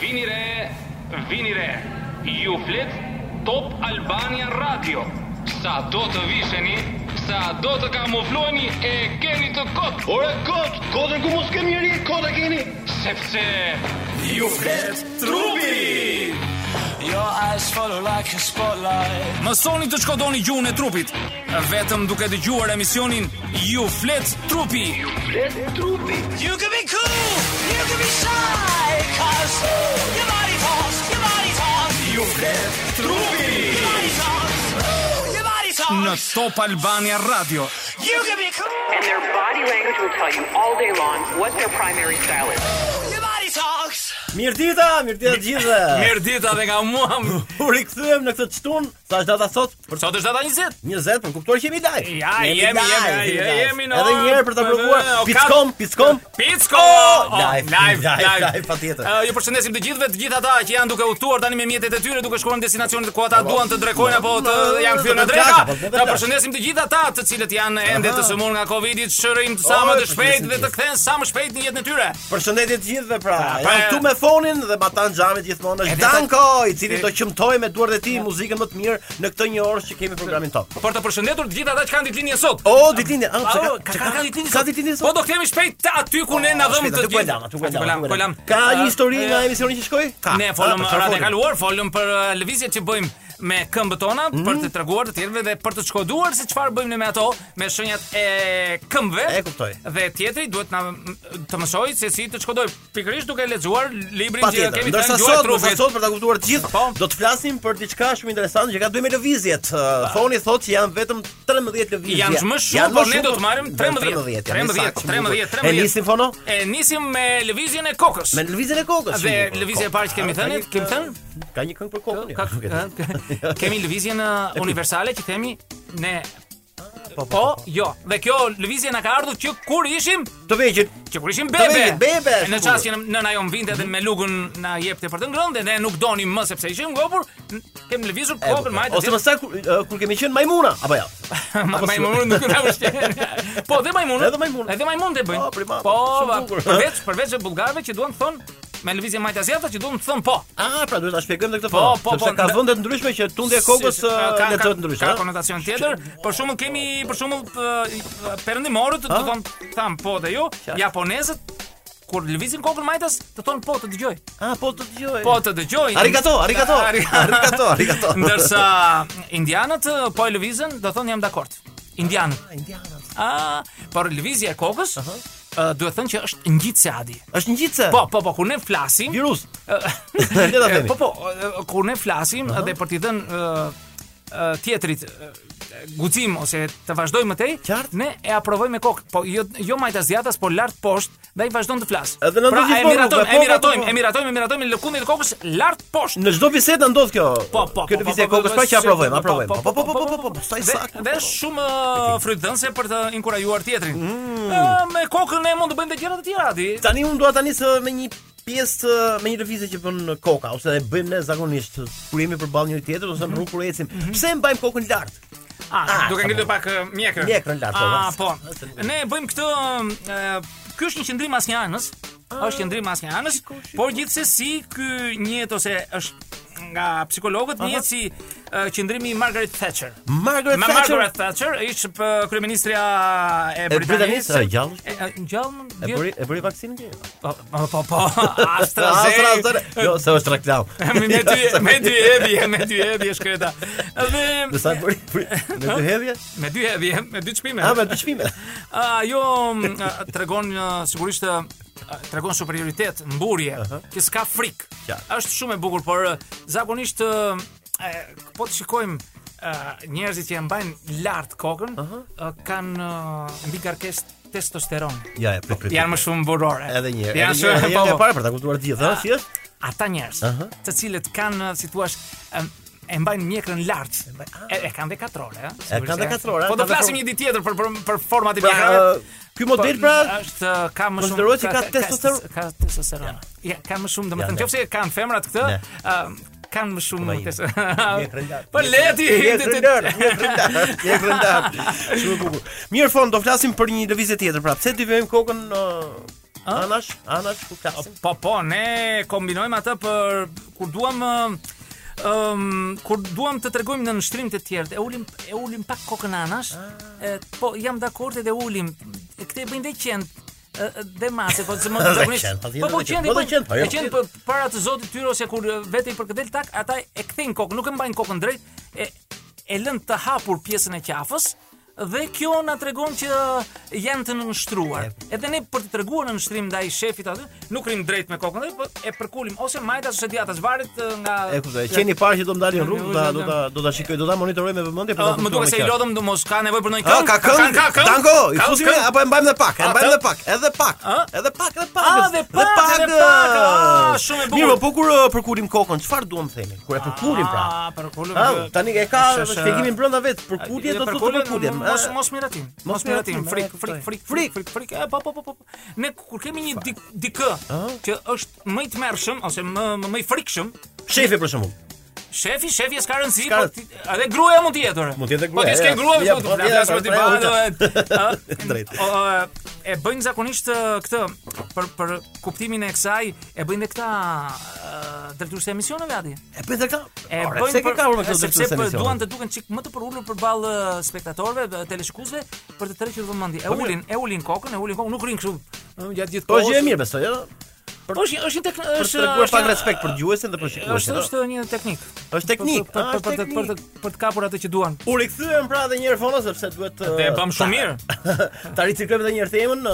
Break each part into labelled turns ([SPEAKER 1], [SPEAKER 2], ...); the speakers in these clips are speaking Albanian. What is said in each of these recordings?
[SPEAKER 1] Vini re, vini re. Ju flet Top Albania Radio. Sa do të visheni, sa do të kamufloheni e keni të kot,
[SPEAKER 2] Ore kot, kotën ku mos kemi njëri, kota keni.
[SPEAKER 1] sepse
[SPEAKER 3] You flet trupi Your eyes follow like a spotlight
[SPEAKER 4] Mësoni të shkodoni gjuhën e trupit, vetëm duke dëgjuar emisionin Ju flet trupi.
[SPEAKER 2] Flet trupi.
[SPEAKER 3] You can be cool, you can be shy Cause your body talks, your body talks
[SPEAKER 4] Ju flet trupi
[SPEAKER 3] Your body talks, Ooh, your body
[SPEAKER 4] në
[SPEAKER 3] talks
[SPEAKER 4] Top Albania Radio.
[SPEAKER 3] You can be cool,
[SPEAKER 5] and their body language will tell you all day long what their primary style is.
[SPEAKER 3] your body talks
[SPEAKER 6] Mirdita, mirdita të gjithëve.
[SPEAKER 4] Mirë dita dhe nga mua. më-
[SPEAKER 6] U rikthyem në këtë çtun, sa është data sot? Për
[SPEAKER 4] Sot është data 20.
[SPEAKER 6] 20, për kuptuar që jemi live.
[SPEAKER 4] Ja, jemi, jemi, jemi, jemi në
[SPEAKER 6] Edhe
[SPEAKER 4] orë,
[SPEAKER 6] një herë për ta
[SPEAKER 4] edhe-
[SPEAKER 6] provuar.
[SPEAKER 4] o, ka-
[SPEAKER 6] Pickom, pickom.
[SPEAKER 4] Picko!
[SPEAKER 6] Oh,
[SPEAKER 4] Oh,
[SPEAKER 6] live,
[SPEAKER 4] live,
[SPEAKER 6] live,
[SPEAKER 4] live.
[SPEAKER 6] live, patjetër.
[SPEAKER 4] Ë, ju përshëndesim të gjithëve, të gjithë ata që janë duke udhëtuar tani me mjetet e tyre, duke shkuar në destinacionet ku ata duan të drekojnë apo të janë kthyer në
[SPEAKER 6] Po,
[SPEAKER 4] dreka.
[SPEAKER 6] po, po, po,
[SPEAKER 4] Ta
[SPEAKER 6] po.
[SPEAKER 4] përshëndesim të gjithë ata të cilët janë ende të sëmurë nga Covidi, shërim sa
[SPEAKER 6] Oh,
[SPEAKER 4] më të
[SPEAKER 6] përshëndesim
[SPEAKER 4] shpejt
[SPEAKER 6] të
[SPEAKER 4] dhe të kthehen sa më shpejt në jetën e tyre.
[SPEAKER 6] Përshëndetje të gjithëve pra.
[SPEAKER 4] pra-
[SPEAKER 6] Jam këtu me fonin dhe batan xhamit gjithmonë është
[SPEAKER 4] Edhe ta-
[SPEAKER 6] Danko, i cili
[SPEAKER 4] E-
[SPEAKER 6] do qëmtoj me duart e tij muzikën më të mirë në këtë një orë që kemi programin top.
[SPEAKER 4] Për të përshëndetur të gjithë ata që kanë ditëlindje sot.
[SPEAKER 6] O, ditëlindje, a,
[SPEAKER 4] Au,
[SPEAKER 6] çka
[SPEAKER 4] po, ka
[SPEAKER 6] çka
[SPEAKER 4] ka ka ditëlindje.
[SPEAKER 6] Oh, Ka
[SPEAKER 4] sot?
[SPEAKER 6] ditëlindje
[SPEAKER 4] Po
[SPEAKER 6] sot? Oh,
[SPEAKER 4] do kthehemi shpejt te aty ku ne na dhëm
[SPEAKER 6] Shpejt,
[SPEAKER 4] të
[SPEAKER 6] aty ku e lam, aty ku e lam, aty ku e lam. Ka
[SPEAKER 4] Ë,
[SPEAKER 6] një histori nga emisioni që shkoi?
[SPEAKER 4] Ka, ne folëm
[SPEAKER 6] Ah, për çfarë
[SPEAKER 4] radhë e
[SPEAKER 6] folim?
[SPEAKER 4] kaluar, folëm për uh, lëvizjet që bëjmë me këmbët tona
[SPEAKER 6] Mhm.
[SPEAKER 4] për të treguar të tjerëve dhe për të shkoduar se çfarë bëjmë ne me ato, me shenjat e këmbëve.
[SPEAKER 6] E kuptoj.
[SPEAKER 4] Dhe tjetri duhet na m- të mësoj se si të shkodoj pikërisht duke lexuar librin që
[SPEAKER 6] Patjetër.
[SPEAKER 4] kemi të
[SPEAKER 6] Ndërsa
[SPEAKER 4] ngjuar
[SPEAKER 6] sot, ndërsa
[SPEAKER 4] trupit.
[SPEAKER 6] sot për ta kuptuar të gjithë,
[SPEAKER 4] Po.
[SPEAKER 6] do të flasim për diçka shumë interesante që ka të bëjë me lëvizjet. Uh, Foni thotë që janë vetëm 13 lëvizje.
[SPEAKER 4] Janë më shumë,
[SPEAKER 6] Janë
[SPEAKER 4] por
[SPEAKER 6] më
[SPEAKER 4] ne do të
[SPEAKER 6] por-
[SPEAKER 4] marrim 13.
[SPEAKER 6] janë
[SPEAKER 4] 13,
[SPEAKER 6] saktë, shumë
[SPEAKER 4] 13,
[SPEAKER 6] bukur.
[SPEAKER 4] 13.
[SPEAKER 6] E nisim fono
[SPEAKER 4] E nisim me lëvizjen e kokës.
[SPEAKER 6] me lëvizjen e kokës.
[SPEAKER 4] Dhe
[SPEAKER 6] shumë bukur.
[SPEAKER 4] lëvizja e parë që kemi
[SPEAKER 6] Ka
[SPEAKER 4] thënë,
[SPEAKER 6] një-
[SPEAKER 4] kemi thënë?
[SPEAKER 6] Ka një këngë për kokën. jo,
[SPEAKER 4] Ka,
[SPEAKER 6] ja, nuk e di.
[SPEAKER 4] ka- kemi lëvizjen uh, universale që themi ne
[SPEAKER 6] Po, po.
[SPEAKER 4] Po, jo. Dhe kjo lëvizje na ka ardhur që kur ishim,
[SPEAKER 6] Të vegjël.
[SPEAKER 4] që kur ishim bebe.
[SPEAKER 6] vegjël, bebe,
[SPEAKER 4] E Në
[SPEAKER 6] shumë
[SPEAKER 4] çast që në- nëna jon vinte edhe me lugun na jepte për të ngrënë dhe ne nuk donim më sepse ishim ngopur, n- kemi lëvizur
[SPEAKER 6] E,
[SPEAKER 4] kokën majtë.
[SPEAKER 6] Ose më sa kur uh, kur kemi qenë majmuna, apo jo? apo si-
[SPEAKER 4] majmunun nuk na vështirë. Po, dhe majmunun.
[SPEAKER 6] Edhe majmunët.
[SPEAKER 4] Edhe majmunët e bëjnë.
[SPEAKER 6] Po, primata,
[SPEAKER 4] Po,
[SPEAKER 6] shumë
[SPEAKER 4] va,
[SPEAKER 6] bukur.
[SPEAKER 4] përveç përveç e bullgarëve që duan të thonë me lëvizje majtë asiata që duan të thonë po.
[SPEAKER 6] Ah, pra duhet ta shpjegojmë edhe këtë
[SPEAKER 4] Po,
[SPEAKER 6] fono.
[SPEAKER 4] po,
[SPEAKER 6] sepse
[SPEAKER 4] po,
[SPEAKER 6] ka
[SPEAKER 4] nda-
[SPEAKER 6] vende të ndryshme që tundja e kokës
[SPEAKER 4] Si- si- ka-
[SPEAKER 6] uh,
[SPEAKER 4] ka-
[SPEAKER 6] le të ndryshë.
[SPEAKER 4] Ka
[SPEAKER 6] ha?
[SPEAKER 4] konotacion tjetër. Për shembull kemi për shembull p- perëndimorët të
[SPEAKER 6] Ah?
[SPEAKER 4] thon tham po dhe jo, japonezët kur lëvizin kokën majtas të thon po të dëgjoj.
[SPEAKER 6] Ah, po të dëgjoj.
[SPEAKER 4] Po të dëgjoj.
[SPEAKER 6] Arigato, arigato.
[SPEAKER 4] Ari-
[SPEAKER 6] Arigato, arigato.
[SPEAKER 4] Ndërsa indianët eh, po e lëvizën, do thonë jam dakord. Indianët.
[SPEAKER 6] indianat.
[SPEAKER 4] Ah, por lëvizja e kokës eh, duhet thënë që është ngjitse adi.
[SPEAKER 6] Është ngjitse.
[SPEAKER 4] Po, po, po, kur ne flasim,
[SPEAKER 6] Virus.
[SPEAKER 4] Eh,
[SPEAKER 6] Le ta themi.
[SPEAKER 4] Po po, eh, kur ne flasim dhe për t'i dhënë eh, eh, tjetrit eh, guxim ose të vazhdojmë më tej,
[SPEAKER 6] Qartë.
[SPEAKER 4] ne e aprovojmë me kokë, po jo jo majt aziatas, po lart poshtë, dhe ai vazhdon të flas.
[SPEAKER 6] Edhe në
[SPEAKER 4] pra,
[SPEAKER 6] ndonjë
[SPEAKER 4] e
[SPEAKER 6] formë,
[SPEAKER 4] miratojmë,
[SPEAKER 6] me
[SPEAKER 4] e
[SPEAKER 6] kokë,
[SPEAKER 4] miratojmë,
[SPEAKER 6] po.
[SPEAKER 4] e miratojmë, e miratojmë lëkundin e kokës lart poshtë.
[SPEAKER 6] Në çdo bisedë ndodh kjo.
[SPEAKER 4] Po, po, po,
[SPEAKER 6] Kjo
[SPEAKER 4] po,
[SPEAKER 6] lëvizje e
[SPEAKER 4] po,
[SPEAKER 6] kokës
[SPEAKER 4] po,
[SPEAKER 6] pra që
[SPEAKER 4] po,
[SPEAKER 6] aprovojmë,
[SPEAKER 4] po, po,
[SPEAKER 6] aprovojmë.
[SPEAKER 4] po,
[SPEAKER 6] Po, po, po, po, po, po, po, sa i
[SPEAKER 4] Dhe,
[SPEAKER 6] saktë.
[SPEAKER 4] dhe
[SPEAKER 6] po.
[SPEAKER 4] shumë eh, frydhënse për të inkurajuar tjetrin.
[SPEAKER 6] Mm.
[SPEAKER 4] Eh, me kokën ne mund të bëjmë dhe gjëra të tjera, di.
[SPEAKER 6] Tani unë dua ta nis eh, me një pjesë eh, me një lëvizje që bën koka ose e bëjmë ne zakonisht kur jemi përballë njëri tjetrit ose në
[SPEAKER 4] Mhm.
[SPEAKER 6] rrugë kur ecim. Pse e mbajmë kokën lart?
[SPEAKER 4] Ah,
[SPEAKER 6] Ah,
[SPEAKER 4] duke
[SPEAKER 6] sa
[SPEAKER 4] ngritur pak eh, mjekër.
[SPEAKER 6] Mjekrën lart, po,
[SPEAKER 4] Ah,
[SPEAKER 6] vas.
[SPEAKER 4] po. Ne bëjmë këtë eh, Ky është një qendrim as një anës.
[SPEAKER 6] Ah.
[SPEAKER 4] Është qendrim as një anës, por gjithsesi ky njihet ose është nga psikologët njihet si eh, qendrimi i Margaret Thatcher.
[SPEAKER 6] Margaret
[SPEAKER 4] Me
[SPEAKER 6] Thatcher.
[SPEAKER 4] Margaret Thatcher ish për kryeministria e
[SPEAKER 6] E Britanisë
[SPEAKER 4] Britanisë.
[SPEAKER 6] e gjallë.
[SPEAKER 4] E, e, Gjallë
[SPEAKER 6] E
[SPEAKER 4] vjet-
[SPEAKER 6] bëri e bëri vaksinën ti?
[SPEAKER 4] Po, po, po, po,
[SPEAKER 6] Astra, Jo,
[SPEAKER 4] AstraZeneca.
[SPEAKER 6] astra. Jo, se është reklam.
[SPEAKER 4] Me dy, me dy hedhje, me dy hedhje shkreta. Dhe
[SPEAKER 6] Me sa e bëri? bëri- Me dy hedhje?
[SPEAKER 4] me dy hedhje, me dy çmime.
[SPEAKER 6] A me dy çmime.
[SPEAKER 4] Ajo m, a, tregon a, sigurisht a, a, tregon superioritet, mburje, që s'ka frikë.
[SPEAKER 6] Ja.
[SPEAKER 4] Është shumë e bukur, por a, zakonisht a, e, po të shikojmë a, njerëzit që e mbajnë lart kokën, a, kanë a, mbi karkesë testosteron.
[SPEAKER 6] Ja, e prit prit.
[SPEAKER 4] Janë më shumë burore.
[SPEAKER 6] Edhe një herë.
[SPEAKER 4] Janë
[SPEAKER 6] edhe një herë,
[SPEAKER 4] shumë
[SPEAKER 6] edhe një
[SPEAKER 4] po,
[SPEAKER 6] herë e
[SPEAKER 4] po.
[SPEAKER 6] para për ta kuptuar të gjithë, ha, si është?
[SPEAKER 4] Ata njerëz, të cilët kanë, si thua, e mbajnë mjekrën lart. E, e kanë dhe katrore, ëh. sigurisht,
[SPEAKER 6] ah. kanë dhe katrore, eh,
[SPEAKER 4] Po
[SPEAKER 6] kanë
[SPEAKER 4] do
[SPEAKER 6] dhe
[SPEAKER 4] flasim
[SPEAKER 6] katrore.
[SPEAKER 4] një ditë tjetër për për, për format e
[SPEAKER 6] Pra,
[SPEAKER 4] mjekrave. Po,
[SPEAKER 6] ë, ky model pra
[SPEAKER 4] është ka më shumë
[SPEAKER 6] konsiderohet si ka testosteron-
[SPEAKER 4] ka testosteron. Ja, ka më shumë,
[SPEAKER 6] Ja,
[SPEAKER 4] domethënë,
[SPEAKER 6] ne.
[SPEAKER 4] nëse kanë femrat këtë,
[SPEAKER 6] Ne.
[SPEAKER 4] ë, kanë më shumë
[SPEAKER 6] jemi.
[SPEAKER 4] testo-
[SPEAKER 6] Mjekrën lart.
[SPEAKER 4] Po leti.
[SPEAKER 6] Mjekrën lart, mjekrën lart, mjekrën lart. Shumë e bukur. Mirë fond, do flasim për një lëvizje tjetër, pra pse ti vëmë kokën ë,
[SPEAKER 7] Ë?
[SPEAKER 6] anash, anash ku flasim.
[SPEAKER 7] Po po, ne kombinojmë atë për kur duam ëm kur duam të tregojmë në nështrim të tjerë, e ulim e ulim pak kokën anash. E, po jam dakord edhe ulim. E, Këtë e bëjnë dhe qend e, e, dhe mase, po të
[SPEAKER 6] Dhe
[SPEAKER 7] zakonisht.
[SPEAKER 6] qend, patjetër
[SPEAKER 7] Po po
[SPEAKER 6] dhe qend,
[SPEAKER 7] qend,
[SPEAKER 6] po
[SPEAKER 7] po
[SPEAKER 6] dhe qend, po, jo.
[SPEAKER 7] e qend për para të zotit tyre ose kur e, vete i përkëdel tak, ata e kthejnë kokën, nuk e mbajnë kokën drejt, e e lën të hapur pjesën e qafës dhe kjo na tregon që janë të nënshtruar. Edhe ne për të treguar nënshtrim ndaj shefit aty, nuk rrim drejt me kokën, po e përkulim ose majtas ose diatas varet ë, nga
[SPEAKER 6] E kuptoj. Qeni i parë që do të ndalin rrugë, do ta do ta do ta shikoj, do ta monitoroj me vëmendje, po ta.
[SPEAKER 7] Ë, Më duket se i lodhëm, do mos ka nevojë për ndonjë
[SPEAKER 6] Ah,
[SPEAKER 7] këngë.
[SPEAKER 6] ka këngë.
[SPEAKER 7] Ka këngë.
[SPEAKER 6] Tango, i
[SPEAKER 7] Ka
[SPEAKER 6] fusim
[SPEAKER 7] këngë.
[SPEAKER 6] apo e mbajmë edhe pak, e
[SPEAKER 7] A,
[SPEAKER 6] mbajmë edhe
[SPEAKER 7] këngë.
[SPEAKER 6] pak, edhe pak.
[SPEAKER 7] A?
[SPEAKER 6] Edhe pak, edhe pak.
[SPEAKER 7] A, dhe pak, edhe pak, a, shumë e bukur.
[SPEAKER 6] Mirë, po kur ë, përkurim kokën, çfarë duam të themi? Kur e përkurim pra.
[SPEAKER 7] Ah, përkulim.
[SPEAKER 6] Ah, tani e ka
[SPEAKER 7] Shë, shë.
[SPEAKER 6] shpjegimin brenda vet, përkutje do të uh, thotë përkutje.
[SPEAKER 7] Mos mos miratim. Mos miratim.
[SPEAKER 6] miratim,
[SPEAKER 7] Frik,
[SPEAKER 6] e,
[SPEAKER 7] frik,
[SPEAKER 6] kuptoj.
[SPEAKER 7] frik,
[SPEAKER 6] Frik.
[SPEAKER 7] frik, frik, frik. E, po, po, po, po. Ne kur kemi një dik- dikë që është më i tmerrshëm ose më më më i frikshëm,
[SPEAKER 6] Shefi për shembull.
[SPEAKER 7] shefi, shefi e s'ka rëndësi,
[SPEAKER 6] S'ka
[SPEAKER 7] po
[SPEAKER 6] rëndësi.
[SPEAKER 7] ti- edhe gruaja mund të jetë. ore.
[SPEAKER 6] Mund të jetë
[SPEAKER 7] Po ti
[SPEAKER 6] gruaja,
[SPEAKER 7] s'ke
[SPEAKER 6] ja.
[SPEAKER 7] grua,
[SPEAKER 6] Ja,
[SPEAKER 7] po
[SPEAKER 6] po,
[SPEAKER 7] të
[SPEAKER 6] ja,
[SPEAKER 7] flas
[SPEAKER 6] po,
[SPEAKER 7] për ti
[SPEAKER 6] pra,
[SPEAKER 7] ballë.
[SPEAKER 6] ujta.
[SPEAKER 7] Drejt.
[SPEAKER 6] Drejt.
[SPEAKER 7] E bëjnë zakonisht ë, këtë për për kuptimin e kësaj, e bëjnë dhe këta ë, drejtues të emisioneve atje.
[SPEAKER 6] E bëj këtë.
[SPEAKER 7] E
[SPEAKER 6] Ore,
[SPEAKER 7] bëjnë
[SPEAKER 6] pse ke
[SPEAKER 7] për-
[SPEAKER 6] ka urë me
[SPEAKER 7] e,
[SPEAKER 6] këtë
[SPEAKER 7] sepse
[SPEAKER 6] drejtues
[SPEAKER 7] për-
[SPEAKER 6] emision?
[SPEAKER 7] duan të duken çik më të përulur përballë eh, spektatorëve, eh, teleshikuesve për të tërhequr vëmendje. E ulin, e ulin kokën, e ulin kokën, nuk rin kështu ëh, gjatë gjithë
[SPEAKER 6] Po
[SPEAKER 7] kohës.
[SPEAKER 6] është gjë e mirë besoj, ëh.
[SPEAKER 7] Po është është një teknikë,
[SPEAKER 6] Për të
[SPEAKER 7] është
[SPEAKER 6] treguar
[SPEAKER 7] është
[SPEAKER 6] pak
[SPEAKER 7] një-
[SPEAKER 6] respekt për dëgjuesin dhe për
[SPEAKER 7] Është
[SPEAKER 6] shikuesin. ëh.
[SPEAKER 7] është një teknikë.
[SPEAKER 6] Është teknik, a,
[SPEAKER 7] Për për- për
[SPEAKER 6] është
[SPEAKER 7] për të për të për të kapur atë që duan.
[SPEAKER 6] U rikthyem pra edhe një herë fono sepse duhet uh, të
[SPEAKER 7] Dhe e bëm shumë mirë.
[SPEAKER 6] Ta riciklojmë edhe një herë temën, ë,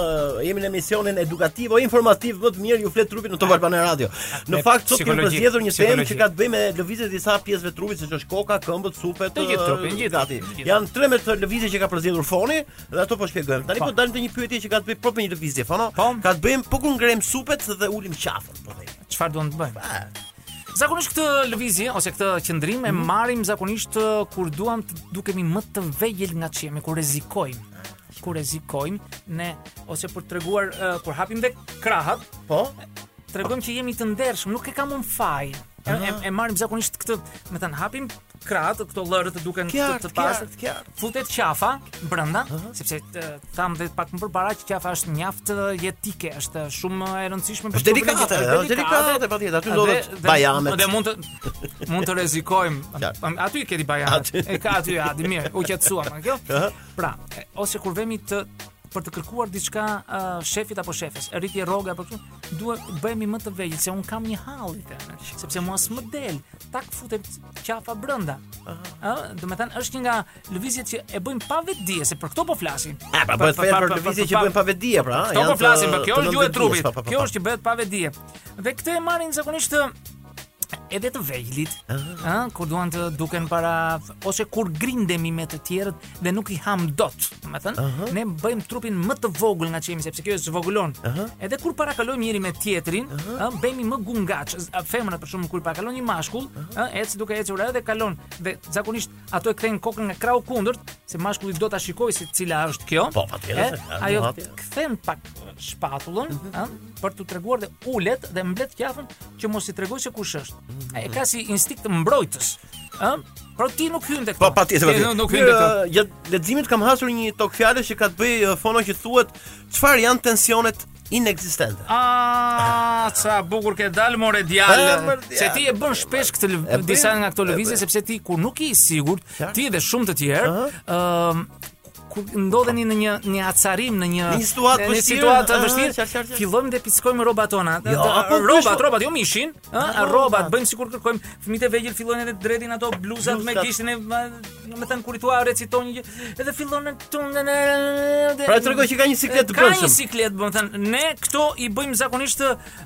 [SPEAKER 6] jemi në emisionin edukativ o informativ më të mirë ju flet trupin në Top Albana Radio. Në
[SPEAKER 7] Me
[SPEAKER 6] fakt sot kemi
[SPEAKER 7] psikologjik,
[SPEAKER 6] përzgjedhur një temë që
[SPEAKER 7] psikologjik.
[SPEAKER 6] ka të bëjë me lëvizjet e disa pjesëve të trupit, siç është koka, këmbët, supet,
[SPEAKER 7] Të gjithë
[SPEAKER 6] ë,
[SPEAKER 7] trupin, gjithë
[SPEAKER 6] gati.
[SPEAKER 7] trupin, gjithë.
[SPEAKER 6] Janë 13 lëvizje që ka përzgjedhur foni dhe ato po shpjegojmë. Tani
[SPEAKER 7] Po.
[SPEAKER 6] po dalim te një pyetje që ka të bëjë propë me një lëvizje, fono.
[SPEAKER 7] Po.
[SPEAKER 6] Ka të bëjë po kur ngrem supet dhe ulim qafën, po them.
[SPEAKER 7] Çfarë duan të bëjmë? Zakonisht këtë lëvizje ose këtë qëndrim
[SPEAKER 6] Mhm.
[SPEAKER 7] e marrim zakonisht eh, kur duam të dukemi më të vegjël nga çemi, kur rrezikojmë. Kur rrezikojmë ne ose për treguar eh, kur hapim dhe krahët,
[SPEAKER 6] Po.
[SPEAKER 7] tregojmë që jemi të ndershëm, nuk e kam un faj. E, e, e marrim zakonisht këtë, me thënë, hapim kratë, këto lërë të duken të,
[SPEAKER 6] Qartë,
[SPEAKER 7] të pastër,
[SPEAKER 6] qartë, qartë.
[SPEAKER 7] futet qafa brenda, sepse të, tham dhe pak më përpara që qafa është mjaft e, jetike, është shumë e rëndësishme për
[SPEAKER 6] Është
[SPEAKER 7] trupin e
[SPEAKER 6] delikate,
[SPEAKER 7] gjithë,
[SPEAKER 6] është delikate, patjetër, aty
[SPEAKER 7] Po, Dhe-
[SPEAKER 6] ndodhet
[SPEAKER 7] dhe-
[SPEAKER 6] bajamet.
[SPEAKER 7] Dhe mund të mund të rrezikojmë.
[SPEAKER 6] Qartë.
[SPEAKER 7] Aty keni bajamet.
[SPEAKER 6] Aty.
[SPEAKER 7] E ka aty, aty mirë, u qetësuam nga kjo. Pra, e, ose kur vemi të për të kërkuar diçka uh, shefit apo shefes, rritje rroga apo kështu, duhet bëhemi më të vegjël se un kam një hall i them, sepse mua s'më del, tak futet qafa brenda. Ë, do të thënë është një nga lëvizjet që e bëjmë pa vetdije, se për këto po flasim.
[SPEAKER 6] A, pra bëhet fjalë për lëvizje që bëjnë pa vetdije, pra.
[SPEAKER 7] Këto po
[SPEAKER 6] janë të-
[SPEAKER 7] flasim, po kjo
[SPEAKER 6] të
[SPEAKER 7] është gjuhë e
[SPEAKER 6] nëndërdijes,
[SPEAKER 7] trupit.
[SPEAKER 6] pa, pa, pa,
[SPEAKER 7] Kjo
[SPEAKER 6] pa.
[SPEAKER 7] është që bëhet pa vetdije. Dhe këtë e marrin zakonisht ë, edhe të vegjëlit,
[SPEAKER 6] Ah.
[SPEAKER 7] ë, kur duan të duken para ose kur grindemi me të tjerët dhe nuk i ham dot, do të thënë, ne bëjmë trupin më të vogël nga çemi sepse kjo e zvoglon. Edhe kur parakalojmë njëri me tjetrin, ë, bëhemi më gungaç. Z- Femra për shkakun kur parakalon një mashkull, ë, ec duke ecur edhe kalon dhe zakonisht ato e kthejnë kokën nga krahu kundërt, se mashkulli do ta shikojë se cila është kjo.
[SPEAKER 6] Po, patjetër,
[SPEAKER 7] E,
[SPEAKER 6] se ka,
[SPEAKER 7] Ajo
[SPEAKER 6] duhat.
[SPEAKER 7] kthen pak shpatullën,
[SPEAKER 6] Mhm.
[SPEAKER 7] ëh, për t'u treguar dhe ulet dhe mblet qafën që mos i tregoj se kush është.
[SPEAKER 6] Mhm.
[SPEAKER 7] E ka si instinkt mbrojtës, ëh? Por ti nuk hyn tek.
[SPEAKER 6] Po patjetër patjetër.
[SPEAKER 7] Nuk hyn tek.
[SPEAKER 6] Mirë, Gjatë leximit kam hasur një tok fjalësh që ka të bëjë eh, fono që thuhet çfarë janë tensionet inekzistente.
[SPEAKER 7] Ah, sa bukur ke dalë more
[SPEAKER 6] E,
[SPEAKER 7] djalë.
[SPEAKER 6] mër, djalë,
[SPEAKER 7] Se ti e bën shpesh këtë lëv-
[SPEAKER 6] Eh, E bën,
[SPEAKER 7] disa nga këto
[SPEAKER 6] e
[SPEAKER 7] lëvizje
[SPEAKER 6] bën.
[SPEAKER 7] sepse ti kur nuk je i sigurt,
[SPEAKER 6] Qartë.
[SPEAKER 7] ti dhe shumë të tjerë, ëm kur ndodheni në një një acarim në një
[SPEAKER 6] Në një situatë
[SPEAKER 7] në një
[SPEAKER 6] vështirë,
[SPEAKER 7] situatë
[SPEAKER 6] aha,
[SPEAKER 7] të
[SPEAKER 6] qartë, qartë,
[SPEAKER 7] vështirë
[SPEAKER 6] qartë.
[SPEAKER 7] fillojmë dhe pickojmë rrobat tona
[SPEAKER 6] Jo, apo
[SPEAKER 7] rrobat
[SPEAKER 6] kush-
[SPEAKER 7] rrobat jo mishin ë rrobat bëjmë sikur kërkojmë fëmijët e vegjël fillojnë edhe dretin ato bluzat me
[SPEAKER 6] Bluzat.
[SPEAKER 7] gishtin e më thënë kur i thua reciton një gjë, edhe fillon të
[SPEAKER 6] Pra, tregoj që ka një siklet të
[SPEAKER 7] Ka një
[SPEAKER 6] brendshëm.
[SPEAKER 7] siklet, do të thënë, ne këto i bëjmë zakonisht